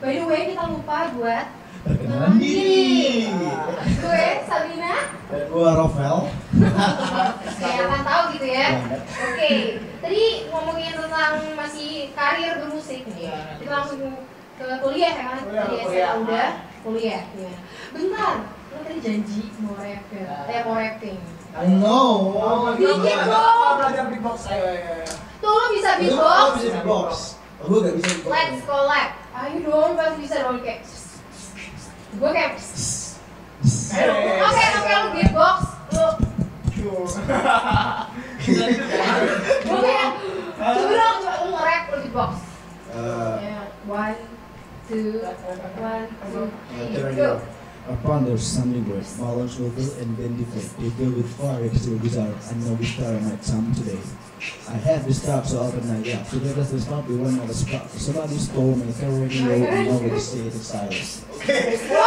By the way, kita lupa buat Perkenalan diri. Oh, gue Sabina. Dan gua Rafael. Kayak akan tahu gitu ya. Oke, tadi ngomongin tentang masih karir bermusik nih. Iya. Kita langsung ke kuliah ya kan? Kuliah, Tadi SMA kuliah. udah kuliah. Ya. Bentar, lo tadi janji mau rap ya? Iya. Eh, mau rapping. No. Dikit dong. Kalau iya. belajar beatbox ayo ayo ayo. Tuh lo bisa Lu- lu beatbox? bisa beatbox. Gue gak bisa beatbox. Let's collab. Ayo dong, pasti bisa dong kayak. Gue kayak. Ayo. Oke, oke, lo beatbox. Lo Gue kayak. Coba dong, coba lo nge-rap, lo beatbox. Uh, Yeah. One, two, one, two, Turn three, it go. up. Upon their sundry word, balance will build and then defeat. They deal with fire, it's your desire, and no star might come today. I have this stop, so open my gap. So let us just not be one of the spot. Somebody stole my carrying road and over the state of silence. Oh,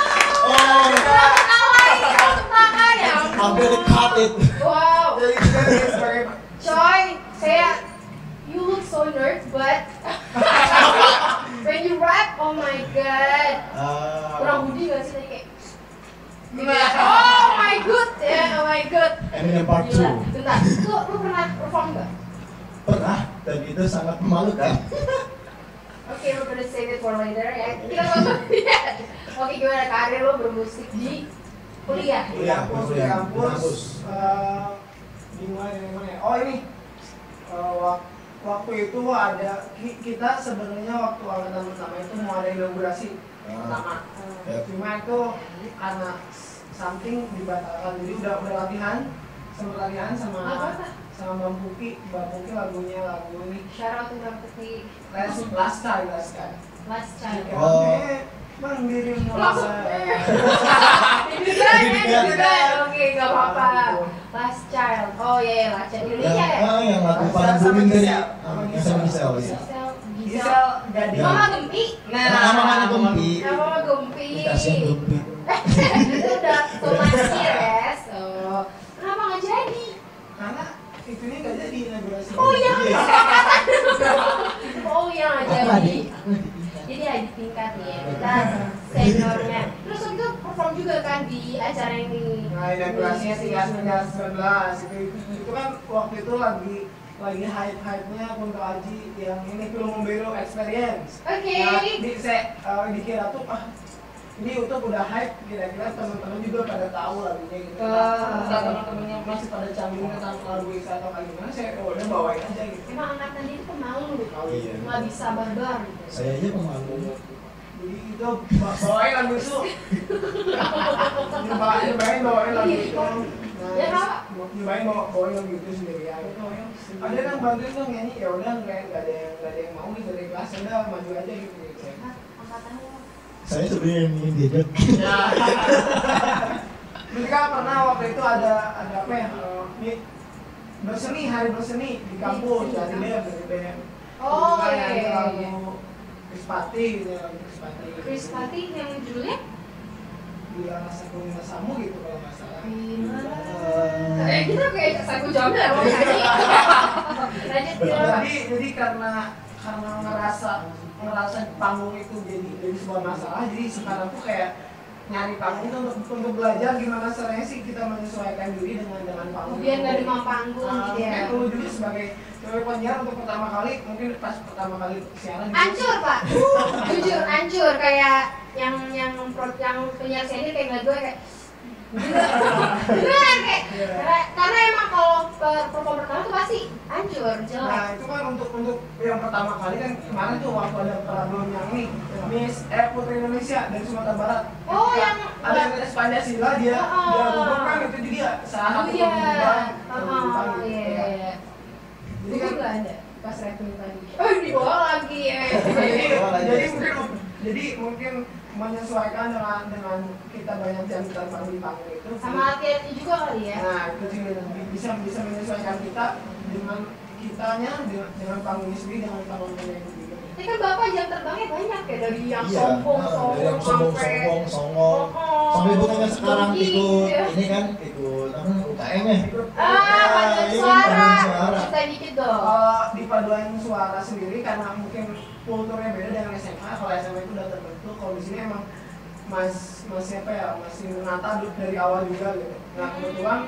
Selamat alay, selamat tebakan, ya ampun. I'm gonna cut it. Wow, Jadi kita dia sebagai coy, kayak you look so nerd, but when you rap, oh my god, Uh, kurang budi gak sih tadi kayak? Gitu ya. Nah. Oh my god, ya oh my god. Eminem Part Gila, 2. bentar. Lu, lu pernah perform gak? Pernah, dan itu sangat memalukan. Oke, lu better save it for later ya. Kita masuk. Oke, gimana karir lo bermusik di kuliah? di Iya, kampus di iya, kampus. kampus. eh, Di mana di mana ya? Oh ini Eh, wak- waktu itu ada ki- kita sebenarnya waktu angkatan pertama itu mau ada inaugurasi Uh, pertama. ya. Cuma itu karena s- something dibatalkan jadi udah udah latihan sempat latihan sama Apa? sama Bang Puki, Bang Puki lagunya lagu ini Syarat untuk peti Last Last Time Last Time. last child. Oh. Mandiri Langsung, eh. Diduga kan, diduga. Oke, gak apa-apa. Last child. Oh iya, iya, last child. yang, Indonesia ya? ah, yang lagu paling booming dari uh, Gisel Gisel ya. Gisel, Gisel. Gisel Gading. Ya. Mama Gempi. Nah, namanya Gempi. Nah, Eh, Mama Gempi. Dikasih Gempi. Itu udah tulansi res. Oh. Kenapa gak jadi? Karena itunya nggak jadi inaugurasi. Oh iya, kan Iya. kesepakatan. Oh iya, gak Aku jadi. adik. Jadi adik tingkat nih ya, kita seniornya. Terus waktu itu perform juga kan di acara yang ini. Iya, Nah, inaugurasinya sih ya 1919 itu, itu kan waktu itu lagi lagi hype-hype-nya Kunto Aji yang ini film Membelo Experience. Oke. Nah, di saya eh, dikira tuh ah ini YouTube udah hype kira-kira teman-teman juga pada tahu lagunya gitu. Ah. Nah, teman-teman yang masih pada canggih tentang lagu Isa atau kayak gimana saya oh, udah bawain aja gitu. Emang angkatan dia itu pemalu, Iya. nggak bisa barbar. gitu. Saya aja pemalu. Jadi itu bawain lagu itu. Nyobain nyobain bawain lagu itu. Nah, Ya, Kak. nyobain bawa bawain lagu itu sendirian. Itu yang ada yang bantuin dong nyanyi ya udah nggak nggak ada yang nggak ada yang mau nih dari kelas udah maju aja gitu. gitu. Hah, angkatan lo. Saya sebenarnya yang ingin diajak. Mereka pernah waktu itu ada ada apa ya? eh, Ini berseni hari berseni di kampus Berseni, kampus. dari BM dari BM. Oh Itu kan iya ada iya iya. Lagu Krispati gitu ya, lagu Krispati. Chris Pati yang judulnya Bila masa kuning masamu gitu kalau nggak salah. Iya. Gimana? Eh kita kayak saku jamnya mau nyanyi. ya, Lanjut Kira. jadi jadi karena karena ngerasa ngerasa panggung itu jadi jadi sebuah masalah jadi sekarang tuh kayak nyari panggung itu untuk, untuk belajar gimana caranya sih kita menyesuaikan diri dengan dengan panggung Biar itu. nggak demam panggung Ah, gitu ya. mungkin dulu juga sebagai sebagai penyiar untuk pertama kali mungkin pas pertama kali siaran gitu. Ancur pak, jujur ancur kayak yang yang pro- yang penyiar senior kayak nggak gue kayak beneran kayak Iya. karena, karena emang kalau per- perform pertama tuh pasti hancur jelek. Nah itu kan untuk untuk yang pertama kali kan kemarin tuh waktu ada problem yang ini Miss eh, Putri Indonesia dari Sumatera Barat. Oh, Ketika yang- ada yang ada Pancasila dia Oh. dia gugur kan itu dia salah Oh satu iya, pengubah oh iya iya. iya. Jadi Itu kan nggak ada pas rapping tadi. Oh di bawah lagi ya. jadi Wah, jadi iya. mungkin jadi mungkin menyesuaikan dengan dengan kita banyak jam terbang di panggung itu. Sama hati-hati juga kali ya. Nah itu juga bisa bisa menyesuaikan kita dengan kitanya dengan, dengan panggungnya sendiri dengan panggung yang sendiri. Tapi kan bapak jam terbangnya banyak ya dari yang Iya, sombong, nah, sombong, dari yang sombong, sampai- sombong, songong. Oh, Sampai bukannya sekarang Dongki, ikut ya. ini kan ikut apa UKM ya? Ah, paduan ini suara. paduan suara. Cerita dikit dong. Kalau di paduan suara sendiri karena mungkin kulturnya beda dengan SMA di sini emang mas mas siapa ya masih menata dari awal juga gitu nah kebetulan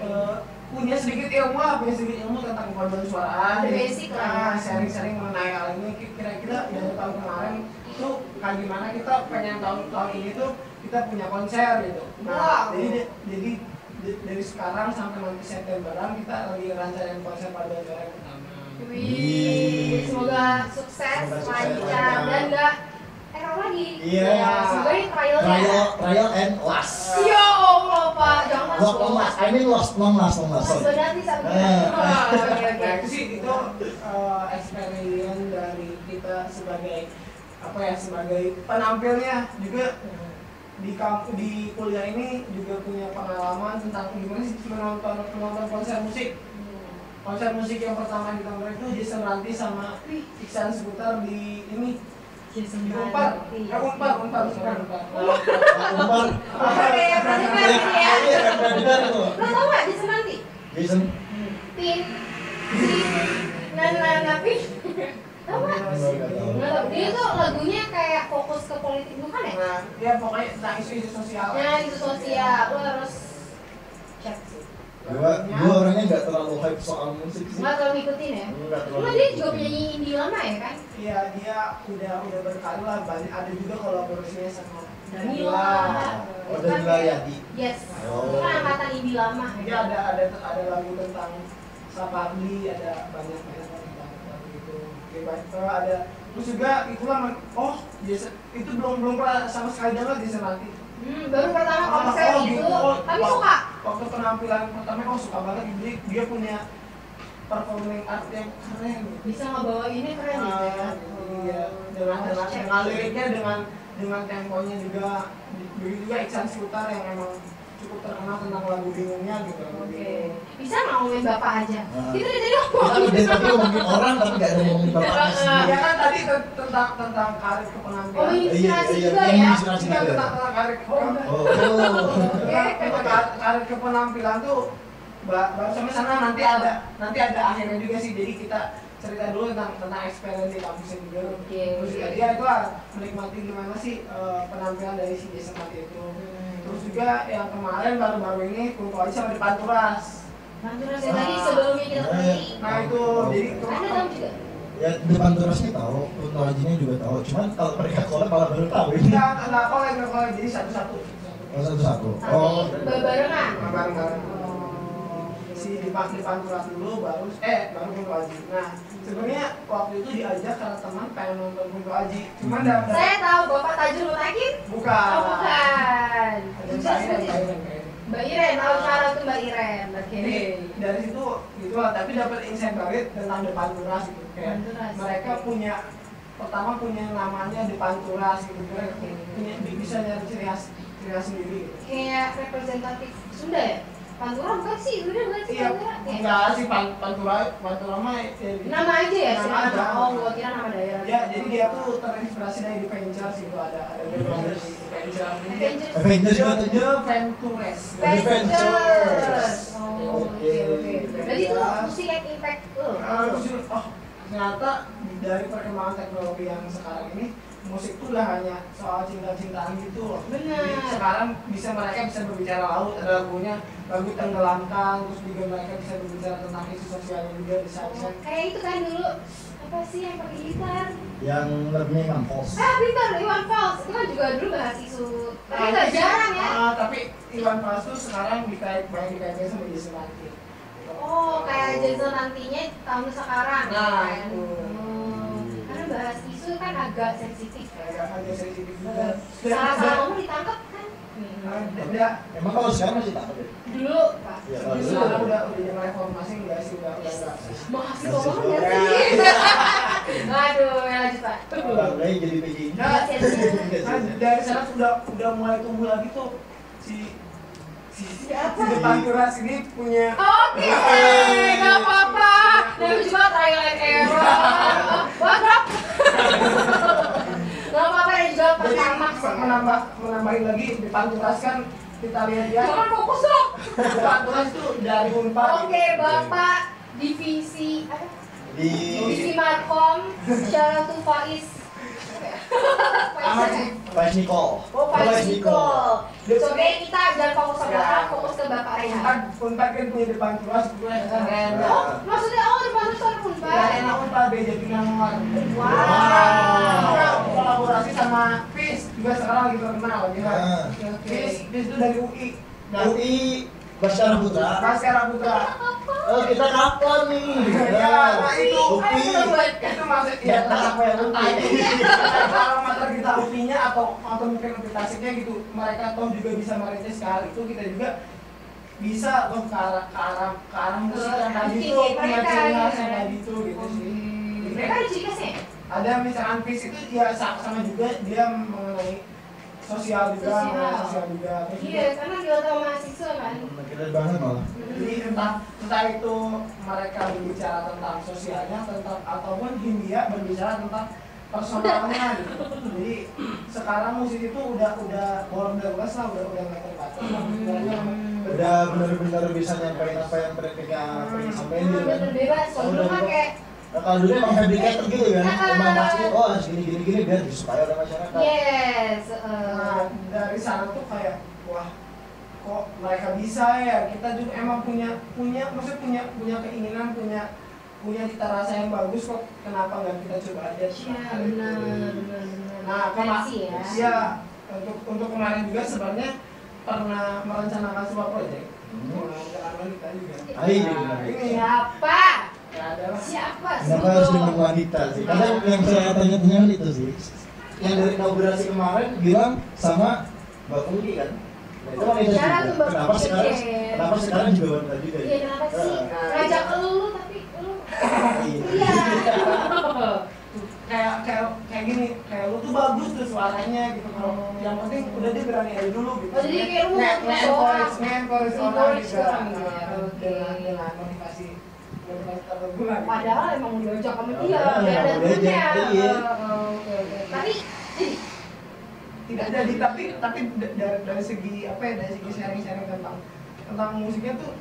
eh, punya sedikit ilmu lah punya sedikit ilmu tentang korban suaraan The Jadi, basic lah. ah, sharing-sharing mengenai hal ini kira-kira dari tahun kemarin tuh kayak gimana kita pengen tahun tahun ini tuh kita punya konser gitu Wow. nah jadi jadi d- dari sekarang sampai nanti Septemberan kita lagi rancangan konser pada suara yang pertama Wih, semoga sukses, Semoga sukses, lancar lancar. dan nggak error lagi. Iya. Semoga ini trialnya. Trial, trial and last. Ya Allah Pak, jangan Not long last. I mean lost, long last, long last. Mas Sorry. Bonanti sama kita. Eh. Wah, Oke oke. Nah, itu sih itu eh, eksperimen dari kita sebagai apa ya sebagai penampilnya juga di kamp- di kuliah ini juga punya pengalaman tentang gimana sih menonton menonton konser musik konser musik yang pertama di Tangerang itu Jason Ranti sama Wih, Iksan Seputar di ini di Ranti. Unpar ya Unpar Unpar sorry, Unpar Umar. Oh, Oke, berarti Ya, berarti ya. iya, keren bener tuh. Lo tau gak di Semanti? Jason. Pin, Pin, na na na Pin. Tau gak? Nggak tahu. Dia tuh lagunya kayak fokus ke politik bukan ya? nah ya pokoknya tentang isu-isu sosial Nah, itu sosial, lo harus cek sih. Gua, gua orangnya nggak terlalu hype soal musik sih. Nggak terlalu ngikutin ya? Nggak terlalu. Cuma dia juga penyanyi indie lama ya kan? Iya dia udah udah berkarir lah banyak ada juga kolaborasinya sama Danila. Oh, dari Wilayadi. Yes. Oh. Itu kan angkatan indie lama. Jadi ya. Iya, ada ada ada lagu tentang Sapardi ada banyak banyak tentang lagu itu. Oke baik terus ada terus juga itulah men- oh Jason itu belum belum pernah sama sekali dengar Jason Ranti. Hmm, baru pertama konser Oh, itu, gitu. Oh, tapi wah. suka. Waktu penampilan pertama oh suka banget jadi dia punya performing art yang keren. gitu. Bisa ngebawainnya keren ya. Ah, iya. dengan dengan dengan liriknya dengan dengan temponya juga begitu juga Iksan Seputar yang emang cukup terkenal tentang lagu bingungnya gitu lagu Oke. bingung. Bisa nggak ngomongin bapak aja? Ah. Itu dari tadi Kita ngomongin. udah tadi ngomongin orang tapi nggak ada ngomongin bapaknya sendiri. Ya kan tadi te- tentang tentang karir Oh, kepenampilan. ini inspirasi Iya, iya, juga iya, ya. inspirasi. Kita tentang tentang karir kepenampilan. Oh. Tentang- tentang kar- karir kepenampilan tuh ba- baru sampai sana nanti ada nanti ada akhirnya juga sih jadi kita cerita dulu tentang tentang experience di kampusnya juga. Oke. Terus juga dia itu ah, menikmati gimana sih eh, penampilan dari si Jason Mati itu. Terus juga yang kemarin baru-baru ini kumpul aja sama di Panturas. Manturas yang tadi sebelumnya Iya. kita tadi. Nah itu jadi itu Anda tahu juga? Ya depan terusnya tahu, Kunto Ajinya juga tahu. Cuman kalau mereka kolab malah baru tahu ini. Iya. nggak nggak kolek nggak kolek jadi satu-satu. Oh satu-satu. Tapi Oh. barengan. Nah, bareng-bareng. Si di Pan- di Panturas dulu baru eh baru kumpul Aji. Nah sebenarnya waktu itu diajak karena teman pengen nonton kumpul Aji. Cuman Hmm. dalam Saya tahu Bapak Tajul Mutakin. bukan. Oh, bukan. Itu Ada yang lain, ada seperti- yang lain. kan. Mbak Iren, tahu cara tuh Mbak Iren. Oke. Jadi dari situ gitu lah, tapi dapat insight banget tentang depan turas gitu Depan kayak Turas. mereka punya pertama punya namanya depan turas gitu mereka Oke. punya bisa nyari ciri khas ciri khas sendiri gitu. Kayak representatif Sunda ya? Pantura bukan sih, Sunda bukan sih Iya, Pantura? Kayak enggak sih pan pantura pantura mah ya, di- Nama aja ya, sih? Nama aja. Oh, gua kira nama daerah. ya jadi dia tuh terinspirasi dari The Avengers gitu ada ada The Avengers di The Avengers jadi Avengers. Avengers The juga tuh. The Ventures Avengers. Oh, oke Oke. oke. Berarti itu musik yang impact lo. Ah, terus juga, oh ternyata dari perkembangan teknologi yang sekarang ini musik tuh udah hanya soal cinta-cintaan gitu loh. Benar. Jadi Sekarang bisa mereka bisa berbicara laut, ada lagunya, lagu tenggelamkan, terus juga mereka bisa berbicara tentang isu sosialnya juga di sana. Kayak itu kan dulu apa sih yang pakai gitar? Yang lebih mampus. Ah, Peter, Iwan Fals itu kan juga dulu bahas isu tapi nggak jarang ya. Ah, tapi Iwan Fals tuh sekarang dikait banyak dikaitkan sama Jason Ranti. Oh, kayak Jason nantinya tahun sekarang Nah, kan? itu. Hmm. Karena bahas isu kan agak sensitif kan? Kayak ada sensitif juga. Iya. Salah-salah ngomong ditangkap kan? Nah, dan- dan- Emang kalau sekarang masih takut ya? Dulu, Pak. Hmm. Iya, kalau dulu. sekarang udah udah zaman reformasi enggak sih udah udah enggak. Makasih Masih ngomong ya sih? Aduh, ya lanjut, Pak. Orang lain jadi PGI. Nah, Kasihan. Nah, dari sana sudah udah mulai tumbuh lagi tuh si si Siapa? si depan keras ini punya Oke, nggak apa-apa. Nah, Dari juga trial and error. Wah, drop. Nggak apa-apa, ini juga jadi pertama. menambah menambahin lagi depan keras kan kita lihat ya Jangan fokus dong. depan keras tuh dari unpad Oke, Bapak divisi apa? Di divisi Markom, Syara Faiz. Ahmad Voice Nicole. Oh, Pak Jiko. Sebenarnya kita jangan fokus ke Ya. Bapak, fokus ke Bapak Rehan. Unpad- Unpad kan punya depan kelas gue keren. Oh, maksudnya oh di mana sore pun Gak Pak? enak Unpad deh jadi nomor. Wow. Kita kolaborasi sama Fis juga sekarang lagi terkenal gitu. Ah. Fis, Fis itu dari Nah, UI. Dan UI Baskara Putra. Baskara Putra. Oh, kita kapan nih? Ah. Ya, nah itu. Kan Upi. kita buat Itu maksud ya entah apa yang entah itu. Kalau mata kita UPI-nya atau atau mungkin lebih klasiknya gitu, mereka toh juga bisa merintis ke hal itu kita juga bisa loh ke arah ke arah ke arah musik yang tadi itu, Bikin mereka, imajinasi yang gitu. tadi itu gitu sih. mereka di Cikas ya? ada misalkan Fis itu dia sa- sama juga dia mengenai sosial juga Sosial. mengenai sosial juga Terus juga Iya, karena di otak mahasiswa kan. Kita banget malah. jadi entah entah itu mereka berbicara tentang sosialnya tentang ataupun Hindia berbicara tentang personalnya gitu. jadi sekarang musik itu udah udah border lah udah udah nggak terbatas lah Hmm. Istilahnya udah Udah benar-benar bisa nyampein apa yang mereka pengen Hmm. sampein gitu kan. Bener bebas, kalau dulu kan kayak Nah, kalau dulu emang fabricator gitu kan, emang pasti oh harus gini gini gini biar disukai oleh masyarakat. yes. nah, eh, dari sana tuh kayak wah kok mereka bisa ya kita juga emang punya punya maksudnya punya punya keinginan punya punya cita rasa yang bagus kok kenapa nggak kita coba aja Iya, benar, benar, benar. Nah, kema- Koleksi ya. iya, untuk untuk kemarin juga sebenarnya pernah merencanakan sebuah proyek. Hmm. Merencanakan kita juga. Hai, Nah, ini ya Siapa? adalah Siapa? Kenapa harus dengan wanita sih? Karena yang saya tanya-tanya itu sih. Yang dari inaugurasi kemarin bilang sama Mbak Pungki kan. Nah, itu wanita Sekarang tuh Iya, juga. Mbak Kenapa Pungki, sekarang? Jen. Kenapa sekarang juga wanita juga? Iya, kenapa sih? Ah, Nah. Ngajak elu tapi elu Iya. Iya. kayak kayak kayak gini, kayak lu tuh bagus tuh suaranya gitu kalau yang penting udah dia berani aja dulu gitu. Oh, jadi kayak lu Nge- mau nge-encourage- orang. nge-encourage orang Encourage juga. orang gitu Nah, ya, oke. dengan- dengan motivasi motivasi tertentu lah. gitu. Padahal emang udah diajak sama dia, Iya, ya ada emang udah temennya. diajak, iya. Oh, oke, oke. Tapi jadi tidak jadi tapi tapi da- dari dari segi apa ya dari segi sharing-sharing tentang tentang musiknya tuh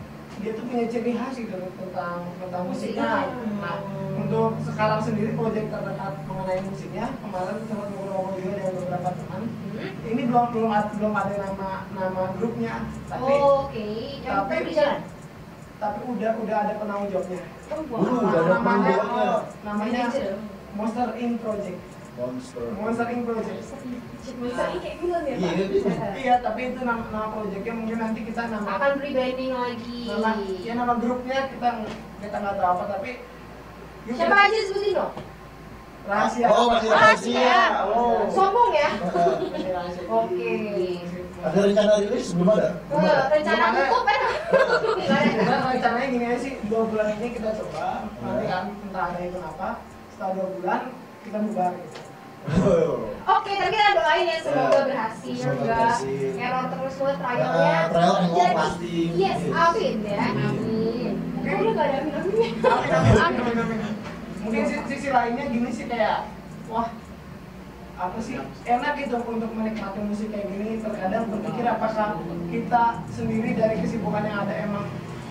dia tuh punya ciri khas gitu loh, tentang tentang musiknya. Musiknya. Nah untuk sekarang sendiri proyek terdekat mengenai musiknya kemarin sempat ngobrol-ngobrol juga dengan beberapa teman. hmm? Ini belum belum ada, belum ada nama nama grupnya tapi Oke, yang tapi- tapi di jalan. tapi udah udah ada penanggung jawabnya. Oh, wow. Dulu udah ada Iya. namanya penanggung jawabnya. oh, namanya Manager. Monster In Project. Monster. Monster Iya. In Project. Bisa ini kayak film ya, Iya, iya. Pak? Iya tapi itu nama, nama proyeknya mungkin nanti kita nama Akan rebranding lagi. nama ya nama grupnya kita kita nggak tahu apa tapi yuk, Siapa aja sebutin dong? ya. rahasia Oh, masih rahasia. Oh. Sombong ya? Nah, Masih rahasia. Oke. Ada rencana rilis belum ada? Eh, rencana Gimana? tutup kan? Nah, rencananya gini aja sih dua bulan ini kita coba nanti kan entah ada itu apa setelah dua bulan kita bubar gitu. Oh, iya. Oke, tapi kita doain ya semoga Ya, berhasil, semoga enggak berhasil. error terus buat trialnya. Ya, trial yang mau Jadi, pasti. Yes, amin ya. Amin. Amin. ya. Kayak lu gak ada amin-aminnya. Amin, amin, amin, amin, amin. mungkin sisi, sisi lainnya gini sih kayak wah apa sih enak gitu untuk menikmati musik kayak gini terkadang berpikir apakah kita sendiri dari kesibukan yang ada emang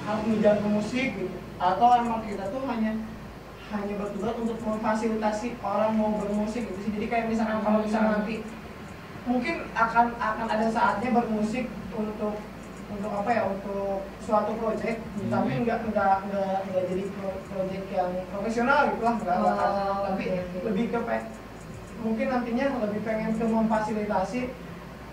harus mengejar ke musik gitu atau emang kita tuh hanya hanya bertugas untuk memfasilitasi orang mau bermusik gitu sih jadi kayak misalkan kalau misalkan nanti mungkin akan akan ada saatnya bermusik untuk untuk apa ya untuk suatu project Hmm. tapi nggak nggak nggak nggak jadi pro- project yang profesional gitu lah nggak nggak akan. Oh, tapi oke, oke. lebih ke pe- mungkin nantinya lebih pengen ke memfasilitasi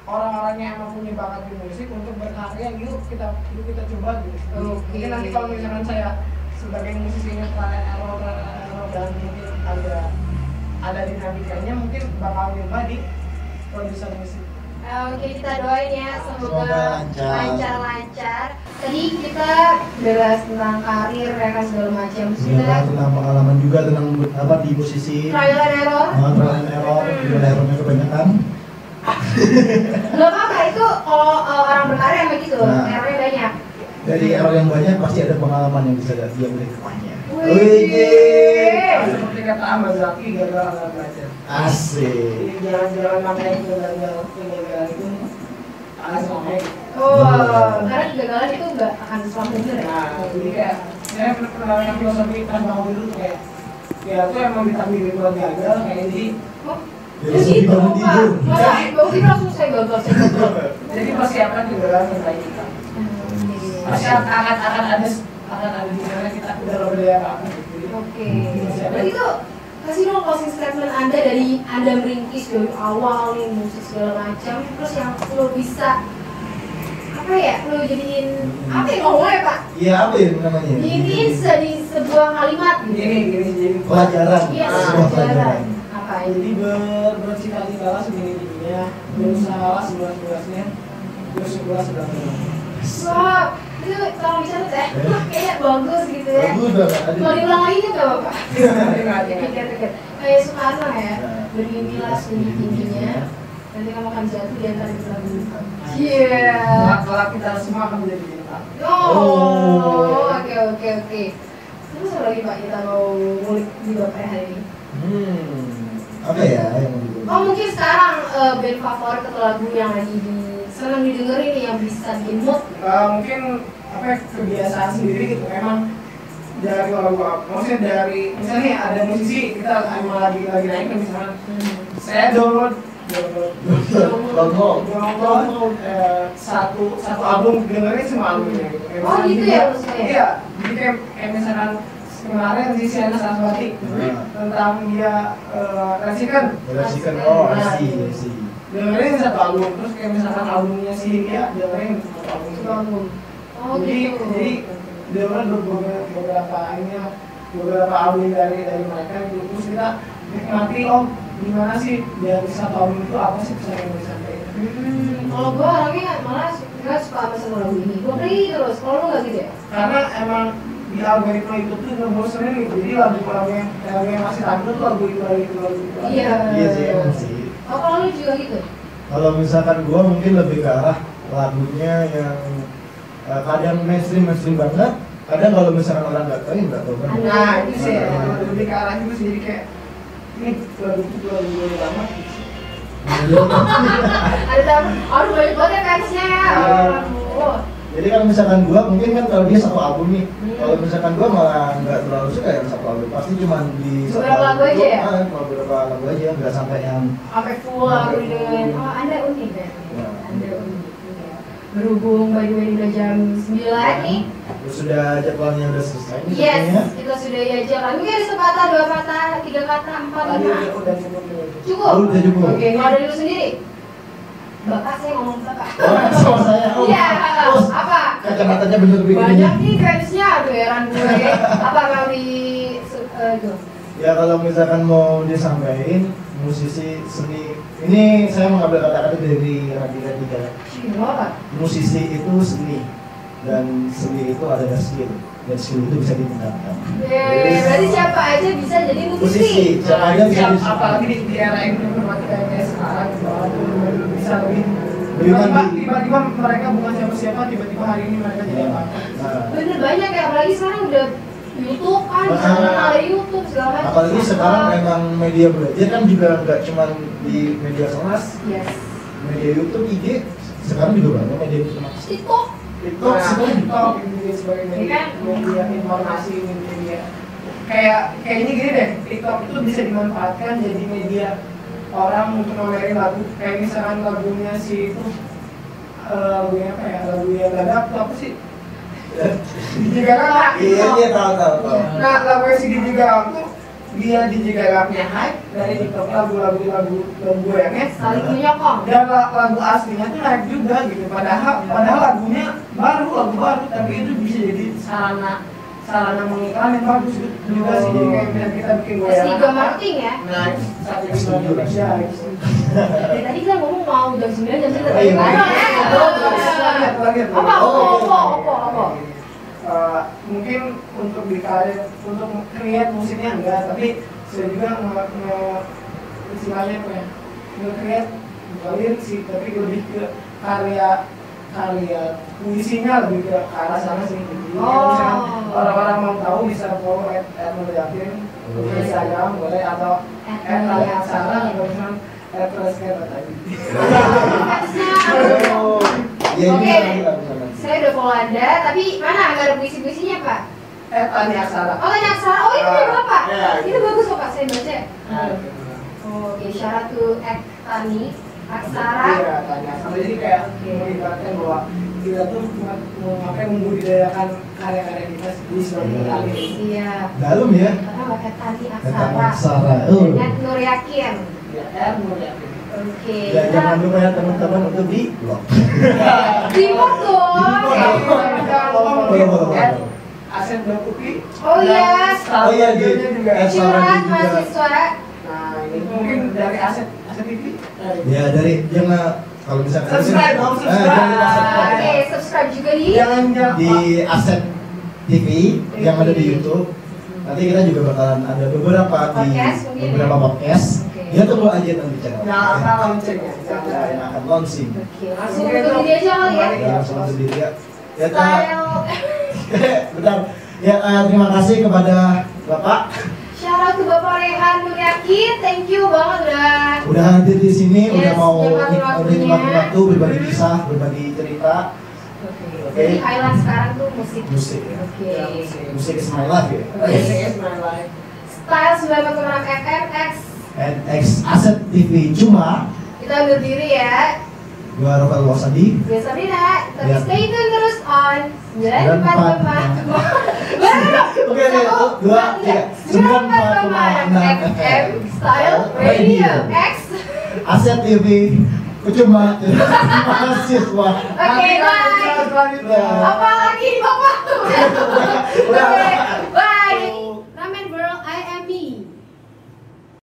orang-orang yang emang punya bakat di musik untuk berkarya yuk kita yuk kita coba gitu Oke. mungkin nanti kalau misalkan saya sebagai musisi ini planet error planet error dan mungkin ada ada dinamikanya mungkin bakal nyoba di produser musik Eh, Oke kita doain ya semoga Semoga lancar. lancar-lancar. Tadi kita bahas tentang karir ya kan segala macam Iya, sudah tentang pengalaman juga tentang apa di posisi trial and error. Nah, trial and error, juga errornya kebanyakan. Gak apa-apa itu kalau eh, orang berkarya emang gitu Nah. errornya banyak. Dari error yang banyak pasti ada pengalaman yang bisa dia ambil hikmahnya. Wih. seperti kata Ahmad Zaki gagal nggak belajar Asik. jadi jalan-jalan mana yang gagal gagal itu ada sama Iya. Oh, karena kegagalan itu nggak akan selalu benar ya. nah jadi kayak saya pernah pernah yang filosofi kan bangun dulu tuh kayak ya tuh emang kita milih buat gagal kayak jadi Oh, Jadi sedih bangun tidur. Masa bangun tidur langsung saya gagal, saya gagal. Jadi persiapan juga langsung baik kita. Pasti akan akan ada akan ada di mana kita udah berbeda apa gitu. Oke. Berarti tuh kasih dong closing statement Anda dari Anda merintis dari awal nih musik segala macam terus yang lo bisa apa ya lo jadiin apa ya ngomongnya pak Iya apa ya namanya? jadiin jadi sebuah kalimat gitu Gini gini jadi Pelajaran. iya Ah, Sebuah pelajaran apa ya Jadi ber bercita-citalah setinggi tingginya, berusaha sebelas belasnya, bersyukur sebelas wah itu tolong dicatat ya Wah, kayaknya bagus gitu ya Bagus banget. kalau diulang lagi nggak apa-apa belasnya. pikir-pikir kayak sukarno ya Nah. berdirilah setinggi tingginya nanti kamu akan jatuh di antara bintang bintang iya Kelak kita semua akan menjadi bintang. Oh, oke oke oke. Terus apa lagi Pak kita mau ngulik di bapak hari ini? Hmm. Apa ya yang mau dibuat? Oh mungkin sekarang eh, band favorit atau lagu yang lagi di senang didengerin nih, yang bisa bikin mood. Eh, mungkin apa ya, kebiasaan sendiri gitu emang dari kalau gua maksudnya dari misalnya nih ada musisi kita emang lagi lagi naik nih, misalnya saya download download Download. download eh, satu satu album dengerin semua albumnya gitu Kayak Oh, misalnya gitu juga- ya maksudnya? iya jadi kayak, kayak misalkan kemarin si Siana Saraswati Hmm. tentang dia eh, Rasikan Berasikan oh, I see, I see. dengerin satu album terus kayak misalkan albumnya si dia dengerin satu album juga. Oh Jadi- gitu. jadi- dia orang beberapa beberapa akhirnya beberapa album dari dari mereka gitu terus kita nikmati oh gimana sih dari satu album itu apa sih pesan yang disampaikan Hmm, kalau gua orangnya malah nggak suka sama sama lagu ini. Gua play terus. Kalau lu nggak gitu ya? karena emang di algoritma itu tuh ngebosenin gitu jadi lagu-lagu yang lagu yang masih tampil tuh lagu itu lagu itu lagu itu lagu itu. Iya. Iya sih, emang sih. Oh kalau lu juga gitu? Kalau misalkan gua mungkin lebih ke arah lagunya yang eh, kadang mainstream mainstream banget, kadang kalau misalkan orang nggak tahu ya nggak tahu banget. nah itu sih emang lebih ke arah itu sih jadi kayak ini lagu itu lagu gitu. lagu lama Iya. Ada tamu? Aduh banyak banget ya fansnya ya. Oh. Jadi kalau misalkan gua mungkin kan kalau dia satu album nih, kalau misalkan gua malah nggak terlalu suka yang satu album, pasti cuma di satu Beberapa lagu aja ya? Ah, kalau beberapa lagu aja, nggak sampai yang sampai full Iya. aku dengan oh anda unik ya Wah. anda unik iya. berhubung by the way udah jam 9 nih sudah jadwalnya udah selesai nih yes sepertinya. kita sudah ya jalan mungkin ada sepatah dua patah tiga kata empat tadi lima udah udah cukup dulu. cukup Oh, udah cukup. oke kalau dari lu sendiri bapak saya ngomong bapak Oh, sama saya. Oh, iya oh, apa kacamatanya bener begini. banyak nih fansnya aduh heran gue apa mau di su- eh, itu Ya kalau misalkan mau disampaikan musisi seni ini saya mengambil kata-kata dari Radika Dika. Cih, mau apa Musisi itu seni dan seni itu adalah skill dan skill itu bisa ditingkatkan. Eh, berarti siapa aja bisa jadi musisi. Musisi siapa aja bisa Siap, bisa. apalagi di, di era informatika kayak sekarang gitu, aduh, bisa Lebih lebih tiba-tiba mandiri. tiba-tiba mereka bukan siapa-siapa tiba-tiba hari ini mereka jadi apa Nah, Bener banyak ya, apalagi sekarang udah YouTube kan, Ah. bisa kenal dari YouTube segala macam. apalagi sekarang Ah, memang media belajar kan juga nggak cuma di media kelas, Yes. media YouTube, IG sekarang juga banyak media kelas. Iya, TikTok. TikTok semua. TikTok ini gitu, sebagai media, media informasi ini media kayak kayaknya gini deh TikTok itu bisa dimanfaatkan jadi media orang untuk nomerin lagu kayak misalkan lagunya si itu eh, lagunya apa ya lagu yang gak ada apa sih DJ Gaga Iya iya tahu tahu tahu. Nah, lagu si Didi Galang tuh dia Didi Galangnya hype dari TikTok lagu-lagu lagu lagu goyangnya Saling menyokong. dan la- lagu aslinya tuh hype juga gitu. Padahal padahal lagunya baru lagu baru tapi itu bisa jadi sarana sarana mengiklan yang bagus juga sih jadi kayak misalnya kita bikin Terus goyangan. juga marketing ya. Nah, satu itu Indonesia gitu. Dari tadi kita ngomong mau jam 9, jam 9 Oh, iya, Mana iya. ya? Lagi, lagi, lagi. Apa, apa, apa, apa, apa? Eh, mungkin untuk di karir untuk create musiknya enggak tapi saya juga nge, nge istilahnya apa ya nge create bukan sih tapi lebih ke karya karya puisinya lebih ke ke arah sana sih jadi kalau Oh. misalkan orang-orang mau tahu bisa follow at Erno Yakin Oh. di Instagram boleh atau At Erno at Raya Yakin. Sarah atau misalkan at Resketa tadi Fansnya. Oh, iya Oke. bisa bisa bisa. Saya udah follow Anda, tapi mana nggak ada puisi-puisinya, Pak? at Tani Aksara Oh, tanya Aksara. Oh, itu Ah, punya Bapak. iya. Itu bagus, kok, Pak. Saya baca. Nah, Oh, Oke, Oke, syarat to act tani, aksara. Iya, tanya. Sama jadi kayak Oke. mengibaratkan bahwa kita tuh cuma mau apa yang membudidayakan karya-karya kita di sebagai Iya. tali. Iya. Dalam ya. Karena pakai tani Kata aksara. Sara. Oh. Dengan Nur Yakin. Ya, kan, mau yakin. Oke. Ya jangan lupa ya teman-teman untuk di blog. Nah, Report dong. Report Ya, dong. dong. Boleh, boleh, boleh. Asen Dua Kupi. Oh, iya. Oh, iya, di- Dia juga. Asen. Curhat mahasiswa. Nah, ini mungkin dari Asen Asen TV. Ya dari jangan kalau bisa Subscribe dong, Eh, subscribe. jangan lupa subscribe. Oke, Iya. subscribe juga di. Jangan jangan. di Aset TV yang ada di YouTube. Nanti kita juga bakalan ada beberapa Podcast di mungkin beberapa ya? podcast. Oke. Ya tunggu aja nanti channel. Jangan akan launching ya. Ya, yang akan launching. Oke, iya. langsung ke dia aja kali ya. Ya, langsung langsung diri ya. Ya, Kak. Style. Bentar. Ya, eh, terima kasih kepada Bapak Shout out ke Bapak Rehan Mulyaki, thank you banget udah udah hadir di sini, udah Yes, mau nyemangati udah waktunya. nyemangati waktu berbagi kisah, berbagi cerita, Oke. Jadi highlight sekarang tuh musik. musik ya. Oke. Musik is my life ya. Yes, my life. Style 946 FM X And X Aset TV cuma kita undur diri ya. gua Rafael Wasadi. Gue Sabrina, tapi Ya. stay tune terus on 94,5. 94,6. Baru Oke, oke, Satu, dua, iya, tiga. 94,6 FM Style Radio X. Aset TV cuma mahasiswa. Oke, bye. Selanjutnya. Apa lagi Bapak? Oke, Udah. bye.